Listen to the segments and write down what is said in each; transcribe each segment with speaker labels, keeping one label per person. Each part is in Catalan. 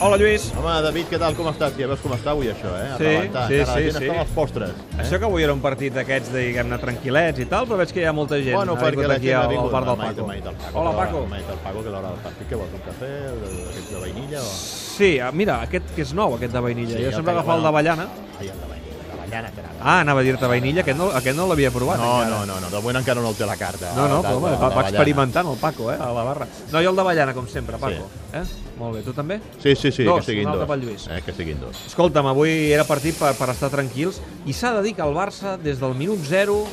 Speaker 1: Hola, Lluís.
Speaker 2: Home, David, què tal? Com estàs? Ja veus com està avui això, eh?
Speaker 1: Sí,
Speaker 2: Arrebentar.
Speaker 1: sí,
Speaker 2: Encara
Speaker 1: sí,
Speaker 2: La gent
Speaker 1: sí.
Speaker 2: està amb els postres. Eh?
Speaker 1: Això que avui era un partit d'aquests, diguem-ne, tranquil·lets i tal, però veig que hi ha molta gent.
Speaker 2: Bueno, perquè la
Speaker 1: aquí
Speaker 2: gent ha
Speaker 1: al-
Speaker 2: vingut
Speaker 1: al bar del
Speaker 2: m'ha dit-
Speaker 1: Paco.
Speaker 2: m'ha dit el Paco.
Speaker 1: Hola,
Speaker 2: que
Speaker 1: Paco.
Speaker 2: M'ha dit el Paco que l'hora del partit. Què vols, un cafè? De, de, de, de vainilla o...?
Speaker 1: Sí, ah, mira, aquest que és nou, aquest de vainilla.
Speaker 2: Sí,
Speaker 1: jo
Speaker 2: el
Speaker 1: sempre
Speaker 2: que-
Speaker 1: agafava el
Speaker 2: bueno.
Speaker 1: d'avellana.
Speaker 2: Ai, el de vainilla, de ballana, que era...
Speaker 1: Ah, anava a dir-te vainilla, aquest no, aquest no l'havia provat.
Speaker 2: No,
Speaker 1: encara.
Speaker 2: no, no, no, de moment encara no el té la carta.
Speaker 1: No, no,
Speaker 2: El de-
Speaker 1: però home,
Speaker 2: el de
Speaker 1: va, va
Speaker 2: ballana.
Speaker 1: experimentant el Paco, eh, a la barra. No, i el d'avellana, com sempre, Paco. Eh? Molt bé, tu també?
Speaker 2: Sí, sí, sí,
Speaker 1: Dos,
Speaker 2: que siguin
Speaker 1: un altre
Speaker 2: dos.
Speaker 1: pel Lluís.
Speaker 2: Eh, que siguin dos.
Speaker 1: Escolta'm, avui era partit per, per estar tranquils i s'ha de dir que el Barça, des del minut zero,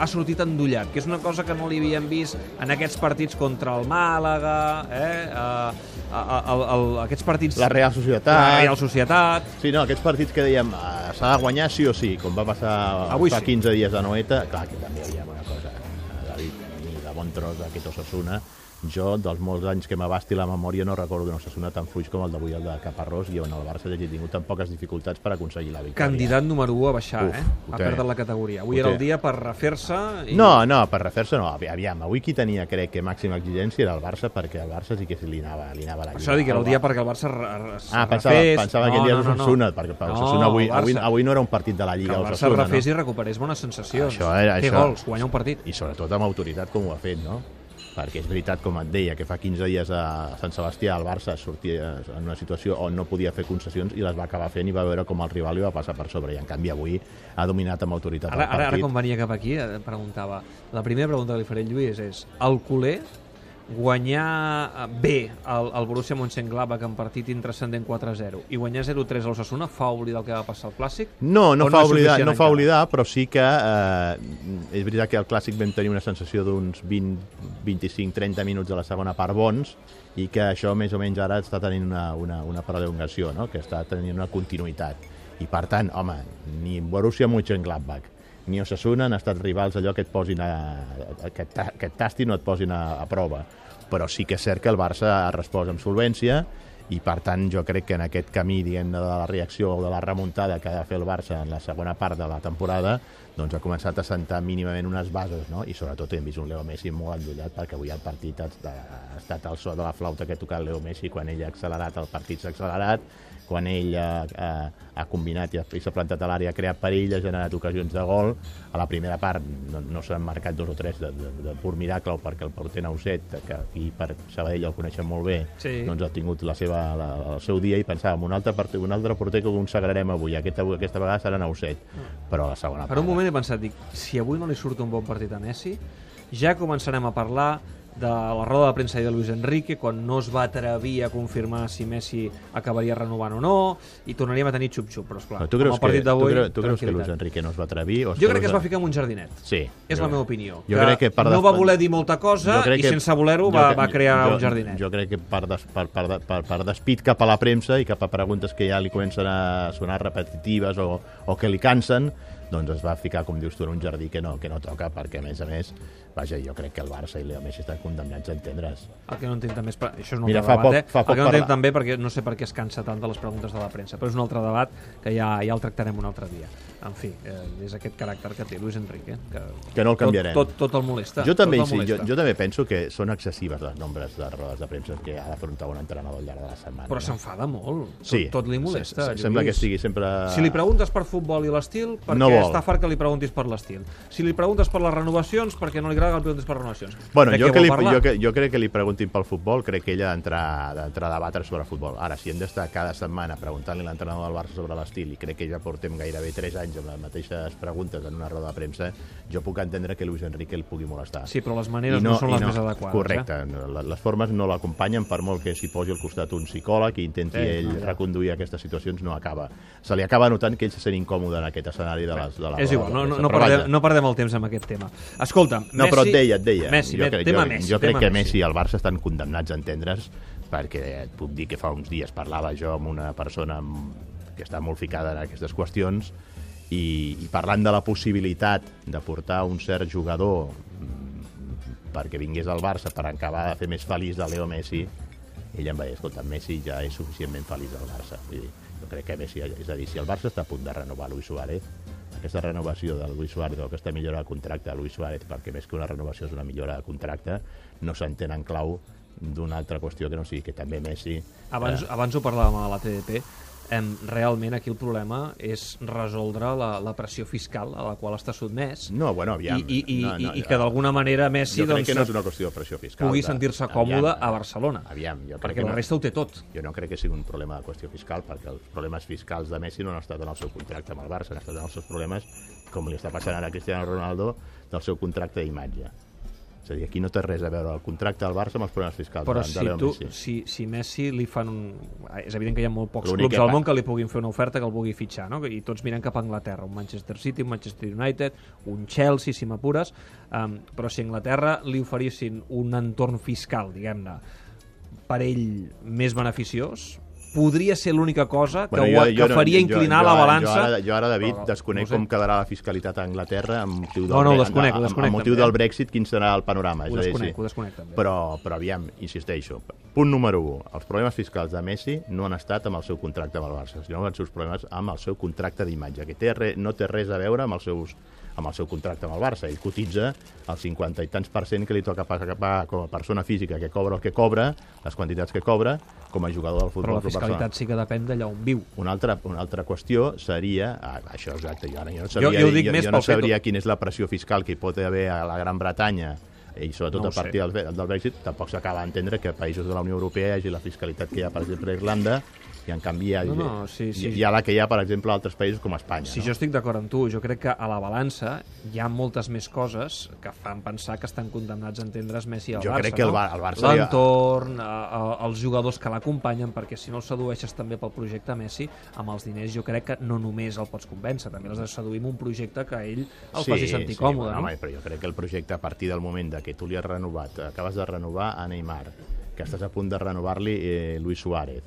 Speaker 1: ha sortit endollat, que és una cosa que no li havíem vist en aquests partits contra el Màlaga, eh? eh, a, a, a, a, aquests partits...
Speaker 2: La Real
Speaker 1: la
Speaker 2: Societat...
Speaker 1: Real Societat...
Speaker 2: Sí, no, aquests partits que dèiem eh, s'ha de guanyar sí o sí, com va passar
Speaker 1: Avui
Speaker 2: fa
Speaker 1: sí.
Speaker 2: 15 dies a Noeta, clar, que també hi ha una cosa, eh, David, ni de bon tros d'aquest Osasuna, jo, dels molts anys que m'abasti la memòria, no recordo un Osasuna tan fluix com el d'avui, el de Caparrós, i on el Barça hagi tingut tan poques dificultats per aconseguir la victòria.
Speaker 1: Candidat número 1 a baixar,
Speaker 2: Uf,
Speaker 1: eh?
Speaker 2: ho
Speaker 1: A
Speaker 2: té.
Speaker 1: perdre la categoria. Avui
Speaker 2: Ho
Speaker 1: era
Speaker 2: té.
Speaker 1: el dia per refer-se... I...
Speaker 2: No, no, per refer-se no. Avi- Aviam, avui qui tenia, crec que màxima exigència era el Barça, perquè el Barça sí que li anava, li anava la
Speaker 1: Per
Speaker 2: lliga.
Speaker 1: això dic que era el dia
Speaker 2: Barça-
Speaker 1: perquè el Barça re- es
Speaker 2: Ah, pensava,
Speaker 1: refés.
Speaker 2: pensava que el dia no, d'Osasuna, perquè per Osasuna avui,
Speaker 1: el
Speaker 2: avui,
Speaker 1: Barça-
Speaker 2: avui no era un partit de la
Speaker 1: que
Speaker 2: Lliga
Speaker 1: el Barça es
Speaker 2: Osasuna, no?
Speaker 1: refés i recuperés bones sensacions.
Speaker 2: Això era-
Speaker 1: Fer
Speaker 2: això-
Speaker 1: gols, guanyar un partit.
Speaker 2: i sobretot amb autoritat com ho ha fet, no? Perquè és veritat, com et deia, que fa 15 dies a Sant Sebastià el Barça sortia en una situació on no podia fer concessions i les va acabar fent i va veure com el rival li va passar per sobre i en canvi avui ha dominat amb autoritat
Speaker 1: Ara,
Speaker 2: el
Speaker 1: ara,
Speaker 2: partit.
Speaker 1: ara quan venia cap aquí eh, preguntava... La primera pregunta que li faré a Lluís és el culer guanyar eh, bé el, el Borussia Mönchengladbach en partit intrascendent 4-0 i guanyar 0-3 a l'Osasuna fa oblidar el que va passar al Clàssic?
Speaker 2: No,
Speaker 1: O
Speaker 2: no, fa,
Speaker 1: és
Speaker 2: oblidar,
Speaker 1: suficient
Speaker 2: no fa
Speaker 1: encara?
Speaker 2: oblidar, però sí que eh, és veritat que al Clàssic vam tenir una sensació d'uns 20, 25-30 minuts de la segona part bons i que això més o menys ara està tenint una, una, una prolongació, no? que està tenint una continuïtat. I per tant, home, ni Borussia Mönchengladbach ni Osasuna han estat rivals allò que et posin a, que, et ta- que et tastin o et posin a, a prova. Però sí que és cert que el Barça ha respost amb solvència i per tant jo crec que en aquest camí diguem de la reacció o de la remuntada que ha de fer el Barça en la segona part de la temporada doncs ha començat a sentar mínimament unes bases no? i sobretot hem vist un Leo Messi molt endollat perquè avui el partit ha, ha estat al so de la flauta que ha tocat Leo Messi quan ell ha accelerat, el partit s'ha accelerat quan ell ha, ha, ha combinat i ha- i s'ha plantat a l'àrea, ha creat perill, ha generat ocasions de gol. A la primera part no, no s'han marcat dos o tres de, de, de pur miracle, o perquè el porter Nauset, que aquí per Sabadell el coneixen molt bé,
Speaker 1: Sí.
Speaker 2: doncs ha tingut la seva, la, el seu dia i pensàvem, un altre, part, un altre porter que consagrarem avui, aquesta, aquesta vegada serà Nauset. Però a la segona
Speaker 1: Ah. Per
Speaker 2: part...
Speaker 1: un moment he pensat, dic, si avui no li surt un bon partit a Messi, ja començarem a parlar de la roda de premsa de Luis Enrique, quan no es va atrevir a confirmar si Messi acabaria renovant o no, i tornaríem a tenir xup-xup, però esclar,
Speaker 2: No, tu
Speaker 1: amb
Speaker 2: creus,
Speaker 1: el partit
Speaker 2: que, tu,
Speaker 1: d'avui...
Speaker 2: creus, tu creus que Luis
Speaker 1: tranquil·litat.
Speaker 2: Enrique no es va atrevir? O
Speaker 1: Jo crec que
Speaker 2: creus-
Speaker 1: es va ficar en un jardinet.
Speaker 2: Sí.
Speaker 1: És
Speaker 2: jo
Speaker 1: la
Speaker 2: crec-
Speaker 1: meva opinió.
Speaker 2: Jo crec que per
Speaker 1: no
Speaker 2: des-
Speaker 1: va voler dir molta cosa
Speaker 2: Jo crec
Speaker 1: i
Speaker 2: que-
Speaker 1: sense voler-ho
Speaker 2: jo
Speaker 1: va,
Speaker 2: crec-
Speaker 1: va crear
Speaker 2: jo,
Speaker 1: un jardinet.
Speaker 2: Jo crec que per, des, per, per, de- per, per despit cap a la premsa i cap a preguntes que ja li comencen a sonar repetitives o, o que li cansen, doncs es va ficar, com dius tu, en un jardí que no, que no toca, perquè a més a més, vaja, jo crec que el Barça i Leo Messi estan condemnats a entendre's.
Speaker 1: El que no entenc també és... per- Això és un
Speaker 2: Mira,
Speaker 1: altre
Speaker 2: fa
Speaker 1: debat,
Speaker 2: poc-
Speaker 1: eh?
Speaker 2: fa
Speaker 1: el
Speaker 2: poc
Speaker 1: que no entenc
Speaker 2: parla-
Speaker 1: també perquè no sé per què es cansa tant de les preguntes de la premsa, però és un altre debat que ja, ja el tractarem un altre dia. En fi, eh, és aquest caràcter que té Luis Enrique. Que,
Speaker 2: Que no el canviarem.
Speaker 1: Tot, tot, tot el molesta.
Speaker 2: Jo també,
Speaker 1: tot el
Speaker 2: sí, jo,
Speaker 1: molesta.
Speaker 2: jo també penso que són excessives les nombres de rodes de premsa que ha d'afrontar un entrenador al llarg de la setmana.
Speaker 1: Però
Speaker 2: no?
Speaker 1: s'enfada molt. Tot,
Speaker 2: Sí.
Speaker 1: tot li molesta.
Speaker 2: Se- se- Sembla que
Speaker 1: Lluís.
Speaker 2: estigui sempre...
Speaker 1: Si li preguntes per futbol i l'estil, perquè
Speaker 2: No vol.
Speaker 1: està fart que li preguntis per l'estil. Si li preguntes per les renovacions, perquè no li agrada que li preguntis per renovacions.
Speaker 2: Bueno,
Speaker 1: De
Speaker 2: jo,
Speaker 1: què
Speaker 2: que
Speaker 1: vol
Speaker 2: li,
Speaker 1: parlar?
Speaker 2: jo, que, jo crec que li preguntin pel futbol, crec que ella ha d'entrar d'entrar a debatre sobre futbol. Ara, si hem d'estar cada setmana preguntant-li a l'entrenador del Barça sobre l'estil, i crec que ja portem gairebé 3 anys amb les mateixes preguntes en una roda de premsa, jo puc entendre que Luis Enrique el pugui molestar.
Speaker 1: Sí, però les maneres no, són
Speaker 2: i
Speaker 1: les més adequades. eh?
Speaker 2: Correcte. No, la- Les formes no l'acompanyen per molt que s'hi posi al costat un psicòleg i intenti
Speaker 1: Sí,
Speaker 2: sí, ell
Speaker 1: no, ja.
Speaker 2: reconduir aquestes situacions, no acaba. Se li acaba notant que ell se sent incòmode en aquest escenari de, les, de la
Speaker 1: És
Speaker 2: roda
Speaker 1: igual,
Speaker 2: de
Speaker 1: no, no,
Speaker 2: premsa.
Speaker 1: no,
Speaker 2: Però
Speaker 1: perdem,
Speaker 2: vaja.
Speaker 1: no perdem el temps amb aquest tema. Escolta'm,
Speaker 2: No,
Speaker 1: Messi...
Speaker 2: però et deia, et deia.
Speaker 1: Messi, jo crec, tema
Speaker 2: jo,
Speaker 1: Messi,
Speaker 2: jo crec
Speaker 1: tema
Speaker 2: que Messi i el Barça estan condemnats a entendre's perquè et puc dir que fa uns dies parlava jo amb una persona amb- que està molt ficada en aquestes qüestions i, i parlant de la possibilitat de portar un cert jugador mm, perquè vingués al Barça per acabar de fer més feliç de Leo Messi ell em va dir, escolta, Messi ja és suficientment feliç al Barça Vull dir, jo crec que Messi, és a dir, si el Barça està a punt de renovar Luis Suárez aquesta renovació de Luis Suárez o aquesta millora de contracte de Luis Suárez, perquè més que una renovació és una millora de contracte, no s'entén en clau d'una altra qüestió que no sigui que també Messi...
Speaker 1: Abans, eh. abans ho parlàvem a la TDP, em, realment aquí el problema és resoldre la, la pressió fiscal a la qual està sotmès
Speaker 2: No, bueno,
Speaker 1: i,
Speaker 2: aviam...
Speaker 1: i, i,
Speaker 2: no, no,
Speaker 1: i, i que d'alguna manera Messi
Speaker 2: Jo crec
Speaker 1: doncs,
Speaker 2: que no és una qüestió de pressió fiscal.
Speaker 1: pugui
Speaker 2: de-
Speaker 1: sentir-se
Speaker 2: aviam,
Speaker 1: còmode
Speaker 2: eh,
Speaker 1: a Barcelona.
Speaker 2: Aviam, jo crec
Speaker 1: perquè
Speaker 2: que
Speaker 1: la
Speaker 2: no.
Speaker 1: resta ho té tot.
Speaker 2: Jo no crec que sigui un problema de qüestió fiscal, perquè els problemes fiscals de Messi no han estat en el seu contracte amb el Barça, han estat en els seus problemes, com li està passant ara a Cristiano Ronaldo, del seu contracte d'imatge. És a dir, aquí no té res a veure el contracte del Barça amb els problemes fiscals
Speaker 1: Però
Speaker 2: de,
Speaker 1: si,
Speaker 2: de Leo
Speaker 1: tu,
Speaker 2: Messi.
Speaker 1: si, si Messi li fan... Un... És evident que hi ha molt pocs
Speaker 2: L'únic
Speaker 1: clubs
Speaker 2: que
Speaker 1: al
Speaker 2: fa-
Speaker 1: món que li puguin fer una oferta que el vulgui fitxar, no? I tots mirant cap a Anglaterra, un Manchester City, un Manchester United, un Chelsea, si m'apures, um, però si a Anglaterra li oferissin un entorn fiscal, diguem-ne, per ell més beneficiós, podria ser l'única cosa que, ho, que faria inclinar la balança...
Speaker 2: Jo ara, jo ara David,
Speaker 1: Però,
Speaker 2: però,
Speaker 1: no
Speaker 2: desconec no
Speaker 1: ho sé.
Speaker 2: sé. com quedarà la fiscalitat a Anglaterra amb motiu del,
Speaker 1: No, no, ho
Speaker 2: bre-
Speaker 1: desconec, ho
Speaker 2: amb-
Speaker 1: desconec,
Speaker 2: amb motiu
Speaker 1: també. eh?
Speaker 2: del Brexit, quin serà el panorama.
Speaker 1: Ho
Speaker 2: és a dir,
Speaker 1: desconec,
Speaker 2: sí.
Speaker 1: ho desconec, també.
Speaker 2: Però, però aviam, insisteixo, punt número 1, els problemes fiscals de Messi no han estat amb el seu contracte amb el Barça, sinó amb els seus problemes amb el seu contracte d'imatge, que té re, no té res a veure amb els seus amb el seu contracte amb el Barça. Ell cotitza el 50 i tants per cent que li toca pagar pagar com a persona física que cobra el que cobra, les quantitats que cobra, com a jugador del futbol
Speaker 1: però la
Speaker 2: Club Barcelona.
Speaker 1: fiscalitat sí que depèn d'allà on viu.
Speaker 2: Una altra, una altra qüestió seria... Ah, això exacte, jo, ara, jo no
Speaker 1: Jo-
Speaker 2: sabria,
Speaker 1: jo ho dic
Speaker 2: jo,
Speaker 1: més
Speaker 2: jo
Speaker 1: pel
Speaker 2: no
Speaker 1: fet-
Speaker 2: sabria quina és la pressió fiscal que hi pot haver a la Gran Bretanya i sobretot
Speaker 1: No ho
Speaker 2: a partir
Speaker 1: sé.
Speaker 2: del, Bre- del Brexit tampoc s'acaba d'entendre que països de la Unió Europea hi hagi la fiscalitat que hi ha, per exemple, a Irlanda i en canvi hi ha,
Speaker 1: No, no, sí, sí.
Speaker 2: hi ha la que hi ha, per exemple, a altres països com a Espanya.
Speaker 1: Si
Speaker 2: no?
Speaker 1: jo estic d'acord amb tu, jo crec que a la balança hi ha moltes més coses que fan pensar que estan condemnats a entendre's Messi al
Speaker 2: Jo
Speaker 1: Barça.
Speaker 2: crec que el
Speaker 1: no?
Speaker 2: Bar- el Barça li ha-
Speaker 1: L'entorn, a- a- els jugadors que l'acompanyen, perquè si no el sedueixes també pel projecte Messi, amb els diners jo crec que no només el pots convèncer, també l'has de seduir amb un projecte que ell el faci sentir còmode. no?
Speaker 2: bueno, Home, però jo crec que el projecte, a partir del moment de que tu li has renovat, acabes de renovar a Neymar, que estàs a punt de renovar-li eh, Luis Suárez,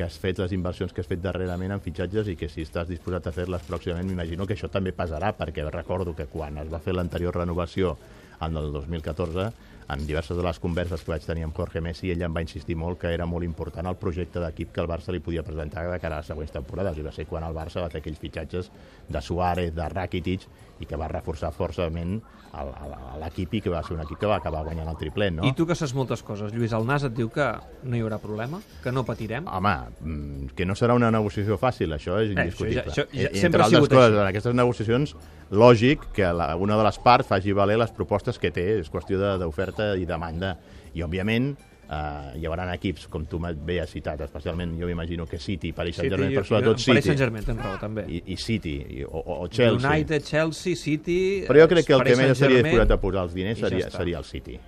Speaker 2: que has fet les inversions que has fet darrerament en fitxatges i que si estàs disposat a fer-les pròximament, m'imagino que això també passarà, perquè recordo que quan es va fer l'anterior renovació en el 2014, en diverses de les converses que vaig tenir amb Jorge Messi, ell em va insistir molt que era molt important el projecte d'equip que el Barça li podia presentar de cara a les següents temporades, i va ser quan el Barça va fer aquells fitxatges de Suárez, de Rakitic, i que va reforçar forçament el- el- l'equip i que va ser un equip que va acabar guanyant el triplet, no?
Speaker 1: I tu que saps moltes coses, Lluís, el Nas et diu que no hi haurà problema, que no patirem.
Speaker 2: Home, mm, que no serà una negociació fàcil, això és
Speaker 1: ja-
Speaker 2: indiscutible.
Speaker 1: això ja-
Speaker 2: Eh,
Speaker 1: sempre
Speaker 2: Entre
Speaker 1: ha
Speaker 2: altres
Speaker 1: sigut
Speaker 2: coses,
Speaker 1: així.
Speaker 2: en aquestes negociacions, lògic que la, una de les parts faci valer les propostes que té, és qüestió de- d'oferta i demanda. I, òbviament, eh, hi haurà equips, com tu m'has bé has citat, especialment jo m'imagino que City, Paris Saint-Germain, però sobretot
Speaker 1: Paris
Speaker 2: City,
Speaker 1: Saint-Germain, tens raó, també.
Speaker 2: i, i City, i, o, o o Chelsea.
Speaker 1: United, Chelsea, City...
Speaker 2: Però jo crec que el
Speaker 1: Paris
Speaker 2: que més estaria
Speaker 1: Saint-Germain,
Speaker 2: disposat a posar els diners
Speaker 1: i ja
Speaker 2: seria,
Speaker 1: està. Mm.
Speaker 2: seria el City.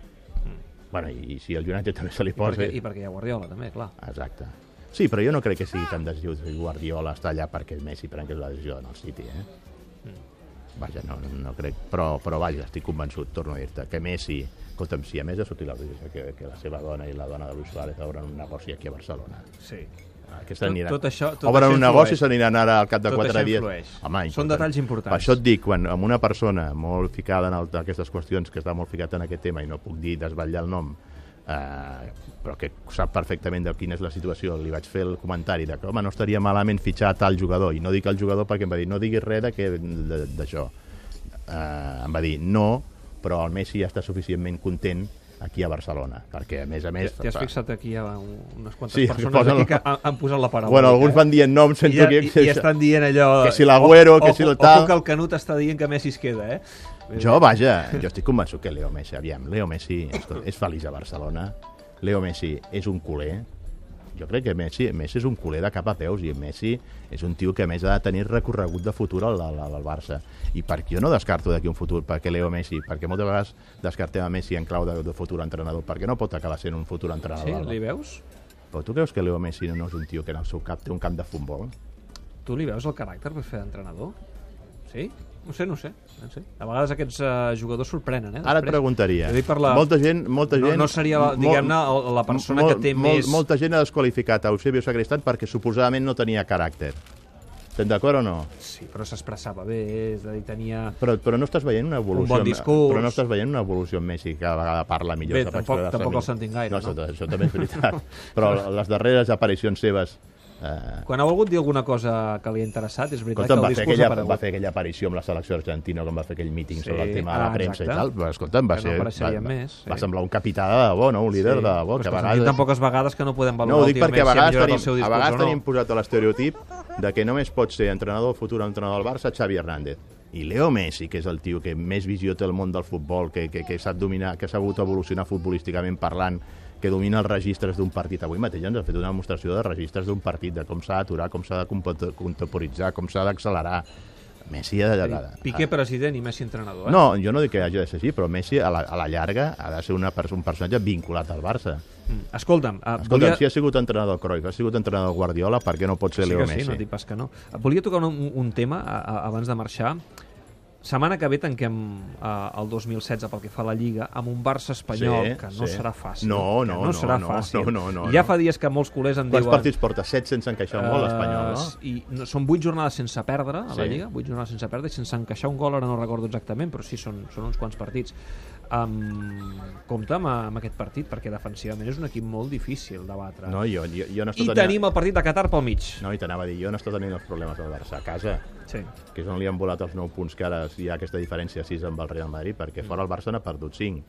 Speaker 2: Bueno, i, i si el United també se li
Speaker 1: I
Speaker 2: posa...
Speaker 1: perquè, I perquè hi ha Guardiola, també, clar.
Speaker 2: Exacte. Sí, però jo no crec que sigui tan decisió que Guardiola està allà perquè Messi prengués la decisió en el City, eh? Vaja, no, no no crec, però, però vaja, estic convençut, torno a dir-te, que Messi, escolta'm, si a més ha sortit la notícia que, que la seva dona i la dona de Luis Suárez obren un negoci aquí a Barcelona.
Speaker 1: Sí.
Speaker 2: Aquesta
Speaker 1: Tot-
Speaker 2: anirà...
Speaker 1: tot això- tot
Speaker 2: obren
Speaker 1: això
Speaker 2: un negoci
Speaker 1: influeix.
Speaker 2: i s'aniran ara al cap de
Speaker 1: Tot
Speaker 2: quatre
Speaker 1: això
Speaker 2: dies.
Speaker 1: influeix. Són detalls importants.
Speaker 2: Per això et dic, quan amb una persona molt ficada en el, aquestes qüestions, que està molt ficat en aquest tema i no puc dir desvetllar el nom, eh, però que sap perfectament de quina és la situació, li vaig fer el comentari de que, home, no estaria malament fitxar tal jugador, i no dic el jugador perquè em va dir, no diguis res de que- de- d'això. Eh, em va dir, no, però el Messi ja està suficientment content aquí a Barcelona, perquè a més a més...
Speaker 1: T'hi has fixat aquí hi ha un- unes quantes
Speaker 2: Sí,
Speaker 1: persones
Speaker 2: posen
Speaker 1: aquí
Speaker 2: la-
Speaker 1: que han, han posat la paraula.
Speaker 2: Bueno, alguns
Speaker 1: eh?
Speaker 2: van dient noms,
Speaker 1: I,
Speaker 2: sento
Speaker 1: ja, i,
Speaker 2: que...
Speaker 1: I estan dient allò...
Speaker 2: que si l'Agüero, que
Speaker 1: ojo-
Speaker 2: si el
Speaker 1: ojo
Speaker 2: tal.
Speaker 1: que el Canut està dient que Messi es queda, eh?
Speaker 2: Jo, vaja, jo estic convençut que Leo Messi, aviam, Leo Messi és, és feliç a Barcelona, Leo Messi és un culer, jo crec que Messi, Messi és un culer de cap a peus i Messi és un tio que a més ha de tenir recorregut de futur al, al, al Barça i perquè jo no descarto d'aquí un futur perquè Leo Messi, perquè moltes vegades descartem a Messi en clau de, de futur entrenador perquè no pot acabar sent un futur entrenador
Speaker 1: Sí,
Speaker 2: del-
Speaker 1: li veus?
Speaker 2: però tu creus que Leo Messi no és un tio que en el seu cap té un camp de futbol?
Speaker 1: Tu li veus el caràcter per fer d'entrenador? Sí? No ho sé, no ho sé. No ho sé. A vegades aquests eh, jugadors sorprenen, eh?
Speaker 2: Ara et
Speaker 1: després.
Speaker 2: preguntaria.
Speaker 1: Jo dic per la...
Speaker 2: Molta gent... Molta
Speaker 1: No-
Speaker 2: gent
Speaker 1: no seria la-
Speaker 2: mol-
Speaker 1: diguem-ne, el- la persona
Speaker 2: mol-
Speaker 1: que té
Speaker 2: mol-
Speaker 1: més-
Speaker 2: Molta gent ha desqualificat a Eusebio Sagristán perquè suposadament no tenia caràcter. Estem d'acord o no?
Speaker 1: Sí, però s'expressava bé, és a dir, tenia...
Speaker 2: Però, però no estàs veient una evolució...
Speaker 1: bon discurs.
Speaker 2: Però no estàs veient una evolució en Messi, que cada vegada parla millor.
Speaker 1: Bé,
Speaker 2: que pots
Speaker 1: tampoc-
Speaker 2: veure-se
Speaker 1: tampoc el
Speaker 2: millor.
Speaker 1: sentim gaire,
Speaker 2: No,
Speaker 1: no?
Speaker 2: Això, això també és veritat. però les darreres aparicions seves Eh,
Speaker 1: Quan ha volgut dir alguna cosa que li ha interessat, és veritat
Speaker 2: Escolta,
Speaker 1: que
Speaker 2: va
Speaker 1: el
Speaker 2: fer,
Speaker 1: discurs
Speaker 2: aquella,
Speaker 1: ha aparegut.
Speaker 2: va fer aquella aparició amb la selecció argentina, com va fer aquell míting
Speaker 1: Sí,
Speaker 2: sí, sobre el tema de la
Speaker 1: ah,
Speaker 2: premsa
Speaker 1: exacte.
Speaker 2: i tal, però escolta'm, va,
Speaker 1: Que no
Speaker 2: ser, va,
Speaker 1: apareixeria
Speaker 2: va,
Speaker 1: més, sí.
Speaker 2: va semblar un capità de debò, no? un líder sí. de
Speaker 1: Però
Speaker 2: debò,
Speaker 1: és
Speaker 2: que a
Speaker 1: que
Speaker 2: vegades...
Speaker 1: tan poques vegades que no podem valorar
Speaker 2: No, ho dic
Speaker 1: últimament
Speaker 2: perquè a
Speaker 1: si ha
Speaker 2: vegades,
Speaker 1: millorat
Speaker 2: tenim,
Speaker 1: el seu
Speaker 2: a
Speaker 1: discurs
Speaker 2: vegades
Speaker 1: o no.
Speaker 2: tenim posat l'estereotip de que només pot ser entrenador, futur entrenador del Barça, Xavi Hernández. I Leo Messi, que és el tio que més visió té al món del futbol, que, que, que sap dominar, que ha sabut evolucionar futbolísticament parlant, que domina els registres d'un partit. Avui mateix ens ha fet una demostració de registres d'un partit, de com s'ha d'aturar, com s'ha de compot- contemporitzar, com s'ha d'accelerar. Messi ha de... de-
Speaker 1: Piqué president i Messi entrenador. Eh?
Speaker 2: no, jo no dic que hagi de ser així, però Messi a la, a la llarga ha de ser una pers un personatge vinculat al Barça.
Speaker 1: Mm. Escolta'm, eh,
Speaker 2: Escolta,
Speaker 1: volia...
Speaker 2: si ha sigut entrenador Cruyff, ha sigut entrenador Guardiola, per què no pot ser
Speaker 1: sí
Speaker 2: Leo
Speaker 1: que sí,
Speaker 2: Messi?
Speaker 1: no dic pas que no. Eh, Volia tocar un, un tema a, a, abans de marxar. Setmana que ve tanquem eh, el 2016 pel que fa a la Lliga amb un Barça espanyol
Speaker 2: Sí,
Speaker 1: que no
Speaker 2: sí.
Speaker 1: serà fàcil.
Speaker 2: No,
Speaker 1: que
Speaker 2: no,
Speaker 1: no,
Speaker 2: no,
Speaker 1: serà
Speaker 2: no,
Speaker 1: fàcil.
Speaker 2: no, no, no,
Speaker 1: ja
Speaker 2: no.
Speaker 1: fa dies que molts culers en
Speaker 2: Quants
Speaker 1: diuen...
Speaker 2: partits porta? 7 sense encaixar un gol,
Speaker 1: Eh,
Speaker 2: l'Espanyol, no?
Speaker 1: I no, són 8 jornades sense perdre a la
Speaker 2: Sí.
Speaker 1: Lliga, 8 jornades sense perdre i sense encaixar un gol, ara no recordo exactament, però sí, són, són uns quants partits. Um, compte amb, amb aquest partit, perquè defensivament és un equip molt difícil de batre.
Speaker 2: No, jo, jo, jo
Speaker 1: I
Speaker 2: no estic
Speaker 1: tenim el partit de Qatar pel mig.
Speaker 2: No, i t'anava a dir, jo no estic tenint els problemes del Barça a casa,
Speaker 1: Sí.
Speaker 2: que és on li han volat els 9 punts que ara hi ha aquesta diferència 6 amb el Real Madrid, perquè fora el Barça n'ha perdut 5.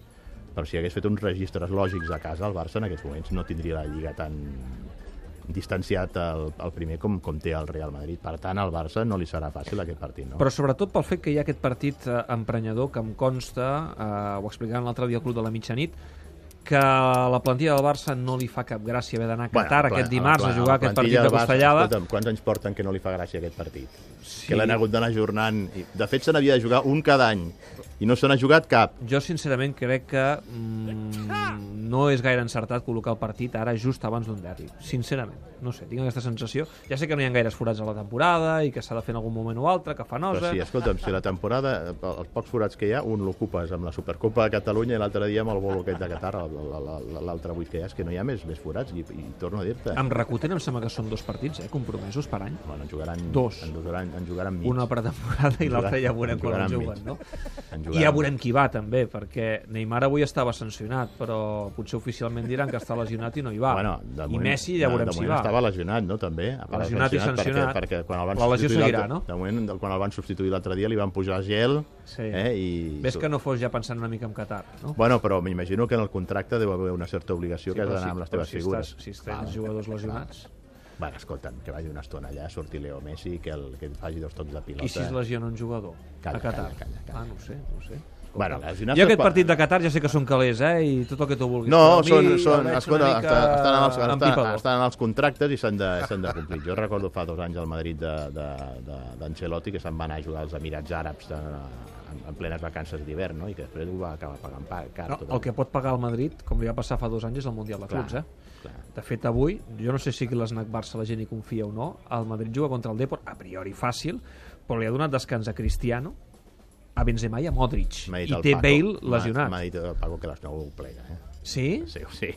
Speaker 2: Però si hagués fet uns registres lògics a casa, el Barça en aquests moments no tindria la Lliga tan distanciat al, al primer com, com té el Real Madrid. Per tant, al Barça no li serà fàcil aquest partit, no?
Speaker 1: Però sobretot pel fet que hi ha aquest partit eh, emprenyador que em consta, eh, ho explicaven l'altre dia al Club de la Mitjanit, que la plantilla del Barça no li fa cap gràcia haver d'anar a Qatar
Speaker 2: el pla-
Speaker 1: aquest
Speaker 2: el
Speaker 1: dimarts
Speaker 2: pla-
Speaker 1: a jugar
Speaker 2: la
Speaker 1: aquest
Speaker 2: plantilla
Speaker 1: partit de
Speaker 2: del Barça,
Speaker 1: Costellada.
Speaker 2: Escolta'm, quants anys porten que no li fa gràcia aquest partit?
Speaker 1: Sí.
Speaker 2: Sí. Que l'han hagut d'anar jornant. i- De fet, se n'havia de jugar un cada any i no se n'ha jugat cap.
Speaker 1: Jo, sincerament, crec que mm, no és gaire encertat col·locar el partit ara just abans d'un derbi. Sincerament, no sé, tinc aquesta sensació. Ja sé que no hi ha gaires forats a la temporada i que s'ha de fer en algun moment o altre, que fa
Speaker 2: Però
Speaker 1: nosa...
Speaker 2: sí, escolta'm, si la temporada, eh, els pocs forats que hi ha, un l'ocupes amb la Supercopa de Catalunya i l'altre dia amb el bolo aquest de Qatar, el- el- el- l'altre buit que hi ha, és que no hi ha més, més forats, i, i torno a dir-te.
Speaker 1: Amb Rakuten em sembla que són dos partits, eh, compromesos per any.
Speaker 2: Bueno, en jugaran,
Speaker 1: Dos.
Speaker 2: En jugaran, en jugaran mig.
Speaker 1: Una per temporada i l'altra ja veurem
Speaker 2: En
Speaker 1: quan
Speaker 2: jugaran
Speaker 1: en juguen,
Speaker 2: mig.
Speaker 1: no?
Speaker 2: En
Speaker 1: I
Speaker 2: jugaran
Speaker 1: ja veurem qui va, també, perquè Neymar avui estava sancionat, però potser oficialment diran que està lesionat i no hi va.
Speaker 2: Bueno, de
Speaker 1: I
Speaker 2: moment,
Speaker 1: Messi ja
Speaker 2: de-
Speaker 1: veurem
Speaker 2: de
Speaker 1: si
Speaker 2: moment
Speaker 1: va.
Speaker 2: estava lesionat, no, també? A part de
Speaker 1: Lesionat i sancionat.
Speaker 2: Perquè, perquè quan el van
Speaker 1: La lesió
Speaker 2: substituir
Speaker 1: seguirà,
Speaker 2: l'altre-
Speaker 1: no?
Speaker 2: De moment, del- quan el van substituir l'altre dia, li van pujar gel,
Speaker 1: Sí.
Speaker 2: eh, i...
Speaker 1: Ves que no fos ja pensant una mica en Qatar, no?
Speaker 2: Bueno, però m'imagino que en el contracte deu haver una certa obligació que has
Speaker 1: però
Speaker 2: d'anar amb les
Speaker 1: però
Speaker 2: teves
Speaker 1: si
Speaker 2: figures. Tota-
Speaker 1: Estàs, si tens jugadors lesionats,
Speaker 2: Bueno, escolta'm, que vagi una estona allà, surti Leo Messi, que, el, que faci dos tocs de pilota.
Speaker 1: i si es lesiona un jugador
Speaker 2: Calla,
Speaker 1: a Qatar?
Speaker 2: calla, calla, calla.
Speaker 1: Ah, no ho sé, no ho sé.
Speaker 2: Bueno, lesionar-se
Speaker 1: Jo aquest
Speaker 2: pot-
Speaker 1: partit de Qatar ja sé que són calés, eh? I tot el que tu vulguis. però
Speaker 2: No,
Speaker 1: a mi
Speaker 2: són,
Speaker 1: el
Speaker 2: són,
Speaker 1: veig
Speaker 2: escolta,
Speaker 1: una mica
Speaker 2: estan, estan, en els, estan,
Speaker 1: empipador.
Speaker 2: estan en els contractes i s'han de, s'han de complir. Jo recordo fa dos anys al Madrid de- de- de- d'Ancelotti que se'n va anar a jugar als Emirats Àrabs de, en, en plenes vacances d'hivern, no? I que després ho va acabar pagant pa- car.
Speaker 1: No,
Speaker 2: tot
Speaker 1: el que pot pagar el Madrid, com li va passar fa dos anys, és el Mundial de
Speaker 2: Clar,
Speaker 1: Clubs, eh?
Speaker 2: clar.
Speaker 1: De fet, avui, jo no sé si aquí l'Snac Barça la gent hi confia o no, el Madrid juga contra el Depor, a priori fàcil, però li ha donat descans a Cristiano, a Benzema i a Modric.
Speaker 2: M'ha dit
Speaker 1: I
Speaker 2: el
Speaker 1: té
Speaker 2: Paco-
Speaker 1: Bale
Speaker 2: m'ha- M'ha
Speaker 1: lesionat.
Speaker 2: dit el Paco que les nou ho plega, eh?
Speaker 1: Sí?
Speaker 2: Sí, sí.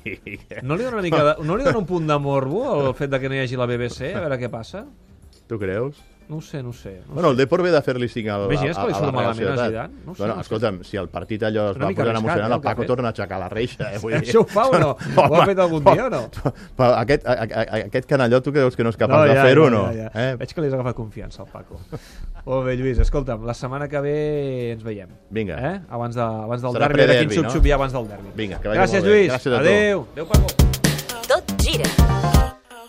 Speaker 1: No li dona, una mica de, no li dona un punt de morbo el fet de que no hi hagi la BBC? A veure què passa?
Speaker 2: Tu creus?
Speaker 1: No ho sé, no ho sé. No ho
Speaker 2: Bueno, el Depor ve de fer-li cinc al,
Speaker 1: Imagines que
Speaker 2: a-
Speaker 1: li
Speaker 2: a
Speaker 1: surt
Speaker 2: la Real
Speaker 1: malament a
Speaker 2: Societat.
Speaker 1: Zidane? No ho sé,
Speaker 2: bueno,
Speaker 1: no ho sé.
Speaker 2: escolta'm, si el partit allò es
Speaker 1: Una
Speaker 2: va
Speaker 1: mica
Speaker 2: posar
Speaker 1: arriscat,
Speaker 2: emocionant,
Speaker 1: eh, el
Speaker 2: el
Speaker 1: que ha
Speaker 2: Paco
Speaker 1: fet.
Speaker 2: torna a aixecar la reixa. Eh? Vull dir-
Speaker 1: Això ho fa o no? Ho ha fet algun dia o no?
Speaker 2: Però aquest, a, a, a- aquest canalló tu creus que no és capaç de fer-ho o no?
Speaker 1: Ja, ja.
Speaker 2: Eh?
Speaker 1: Veig que li has agafat confiança al Paco. Molt bé, Lluís, escolta'm, la setmana que ve ens veiem.
Speaker 2: Vinga.
Speaker 1: Eh? Abans, de, abans del
Speaker 2: Serà
Speaker 1: derbi, a veure
Speaker 2: prederbi,
Speaker 1: quin xup-xup
Speaker 2: no?
Speaker 1: hi ha abans del derbi.
Speaker 2: Vinga, que vagi
Speaker 1: Gràcies,
Speaker 2: molt bé.
Speaker 1: Lluís.
Speaker 2: Gràcies a tu.
Speaker 1: Adéu. Adéu, Paco.
Speaker 3: Tot gira